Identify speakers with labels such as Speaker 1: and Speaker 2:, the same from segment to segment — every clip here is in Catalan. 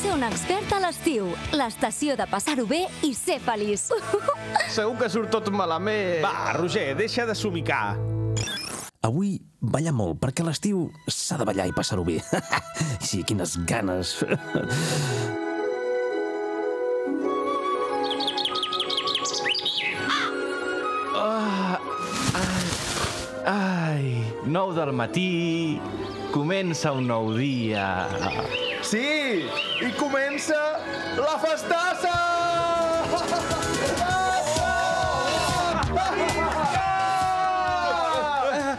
Speaker 1: ser un expert a l'estiu. L'estació de passar-ho bé i ser feliç.
Speaker 2: Segur que surt tot malament.
Speaker 3: Va, Roger, deixa de somicar.
Speaker 4: Avui ballar molt, perquè a l'estiu s'ha de ballar i passar-ho bé. sí, quines ganes.
Speaker 2: Ai, 9 del matí, comença un nou dia.
Speaker 5: Sí, i comença la festassa!
Speaker 3: Ah, Eh,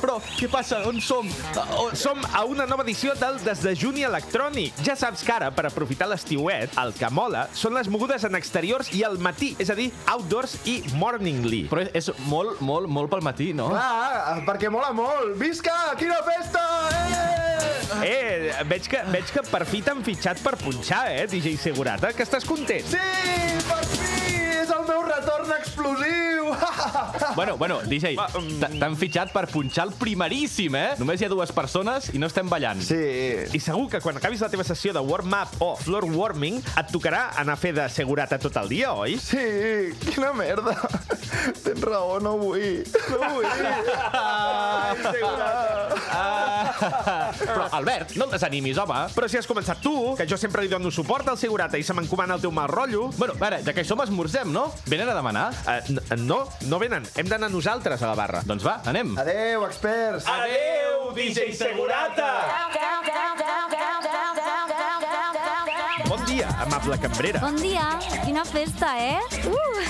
Speaker 3: però, què passa? On som? Ah, On... Som a una nova edició del Desdejuni Electrònic. Ja saps que ara, per aprofitar l'estiuet, el que mola són les mogudes en exteriors i al matí, és a dir, outdoors i morningly.
Speaker 2: Però és, és molt, molt, molt pel matí, no?
Speaker 5: Clar, perquè mola molt. Visca, quina festa! Eh!
Speaker 3: Eh, veig que, veig que per fi t'han fitxat per punxar, eh, DJ Segurata, que estàs content.
Speaker 5: Sí, per fi! És el meu retorn explosiu!
Speaker 2: Bueno, bueno, DJ,
Speaker 3: Va, mm.
Speaker 2: t- t'han fitxat per punxar el primeríssim, eh? Només hi ha dues persones i no estem ballant.
Speaker 5: sí,
Speaker 3: I segur que quan acabis la teva sessió de warm-up o floor warming et tocarà anar a fer de segurata tot el dia, oi?
Speaker 5: sí, quina merda. Tens raó, no vull. No vull.
Speaker 2: Ah. Però, Albert, no el desanimis, home.
Speaker 3: Però si has començat tu, que jo sempre li dono suport al segurata i se m'encomana el teu mal rotllo...
Speaker 2: Bueno, ara, ja que hi som, esmorzem, no? Venen a demanar?
Speaker 3: Uh, no, no venen. Hem d'anar nosaltres a la barra.
Speaker 2: Doncs va, anem.
Speaker 5: Adeu, experts.
Speaker 3: Adeu, DJ Segurata! Bon dia, amable cambrera.
Speaker 1: Bon dia. Quina festa, eh? Uh!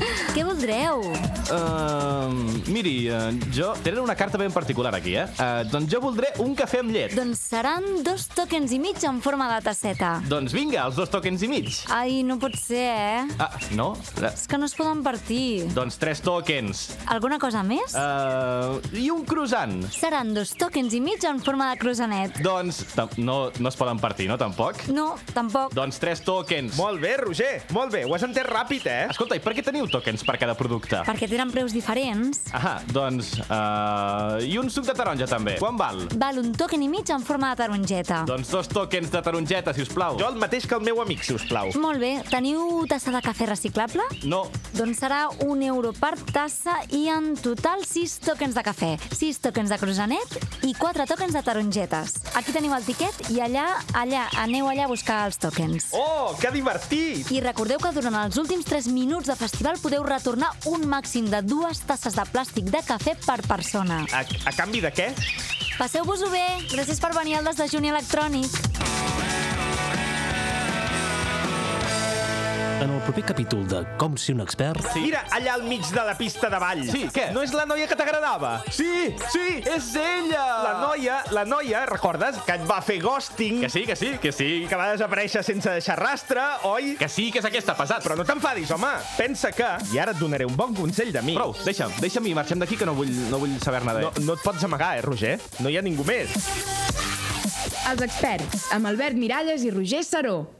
Speaker 1: Què voldreu?
Speaker 2: Uh, miri, uh, jo... Tenen una carta ben particular aquí, eh? Uh, doncs jo voldré un cafè amb llet.
Speaker 1: Doncs seran dos tòquens i mig en forma de tasseta.
Speaker 2: Doncs vinga, els dos tòquens i mig.
Speaker 1: Ai, no pot ser, eh?
Speaker 2: Ah, no? Eh,
Speaker 1: És que no es poden partir.
Speaker 2: Doncs tres tòquens.
Speaker 1: Alguna cosa més?
Speaker 2: Uh, I un croissant.
Speaker 1: Seran dos tòquens i mig en forma de croissanet.
Speaker 2: Doncs tam- no, no es poden partir, no, tampoc?
Speaker 1: No, tampoc.
Speaker 2: Doncs tres tokens.
Speaker 3: Molt bé, Roger, molt bé. Ho has entès ràpid, eh?
Speaker 2: Escolta, i per què teniu tokens per cada producte?
Speaker 1: Perquè tenen preus diferents.
Speaker 2: Ahà, doncs... Uh, I un suc de taronja, també. Quan val?
Speaker 1: Val un toquen i mig en forma de tarongeta.
Speaker 2: Doncs dos tokens de tarongeta, si us plau.
Speaker 3: Jo el mateix que el meu amic, si us plau.
Speaker 1: Molt bé, teniu tassa de cafè reciclable?
Speaker 2: No.
Speaker 1: Doncs serà un euro per tassa i en total 6 tòquens de cafè, 6 tòquens de croissanet i 4 tòquens de tarongetes. Aquí teniu el tiquet i allà, allà, aneu allà a buscar els tòquens.
Speaker 3: Oh, que divertit!
Speaker 1: I recordeu que durant els últims 3 minuts de festival podeu retornar un màxim de dues tasses de plàstic de cafè per persona.
Speaker 3: A, a canvi de què?
Speaker 1: Passeu-vos-ho bé! Gràcies per venir al desdejuni electrònic.
Speaker 4: En el proper capítol de Com ser un expert...
Speaker 3: Sí. Mira, allà al mig de la pista de ball.
Speaker 2: Sí, què?
Speaker 3: No és la noia que t'agradava? Ah.
Speaker 2: Sí, sí, és ella!
Speaker 3: La noia, la noia, recordes? Que et va fer ghosting.
Speaker 2: Que sí, que sí, que sí.
Speaker 3: Que va desaparèixer sense deixar rastre, oi?
Speaker 2: Que sí, que és aquesta, pesat.
Speaker 3: Però no t'enfadis, home. Pensa que... I ara et donaré un bon consell de mi.
Speaker 2: Prou, deixa'm, deixa'm i marxem d'aquí, que no vull, no vull saber-ne de...
Speaker 3: No, no et pots amagar, eh, Roger? No hi ha ningú més.
Speaker 6: Els experts, amb Albert Miralles i Roger Saró.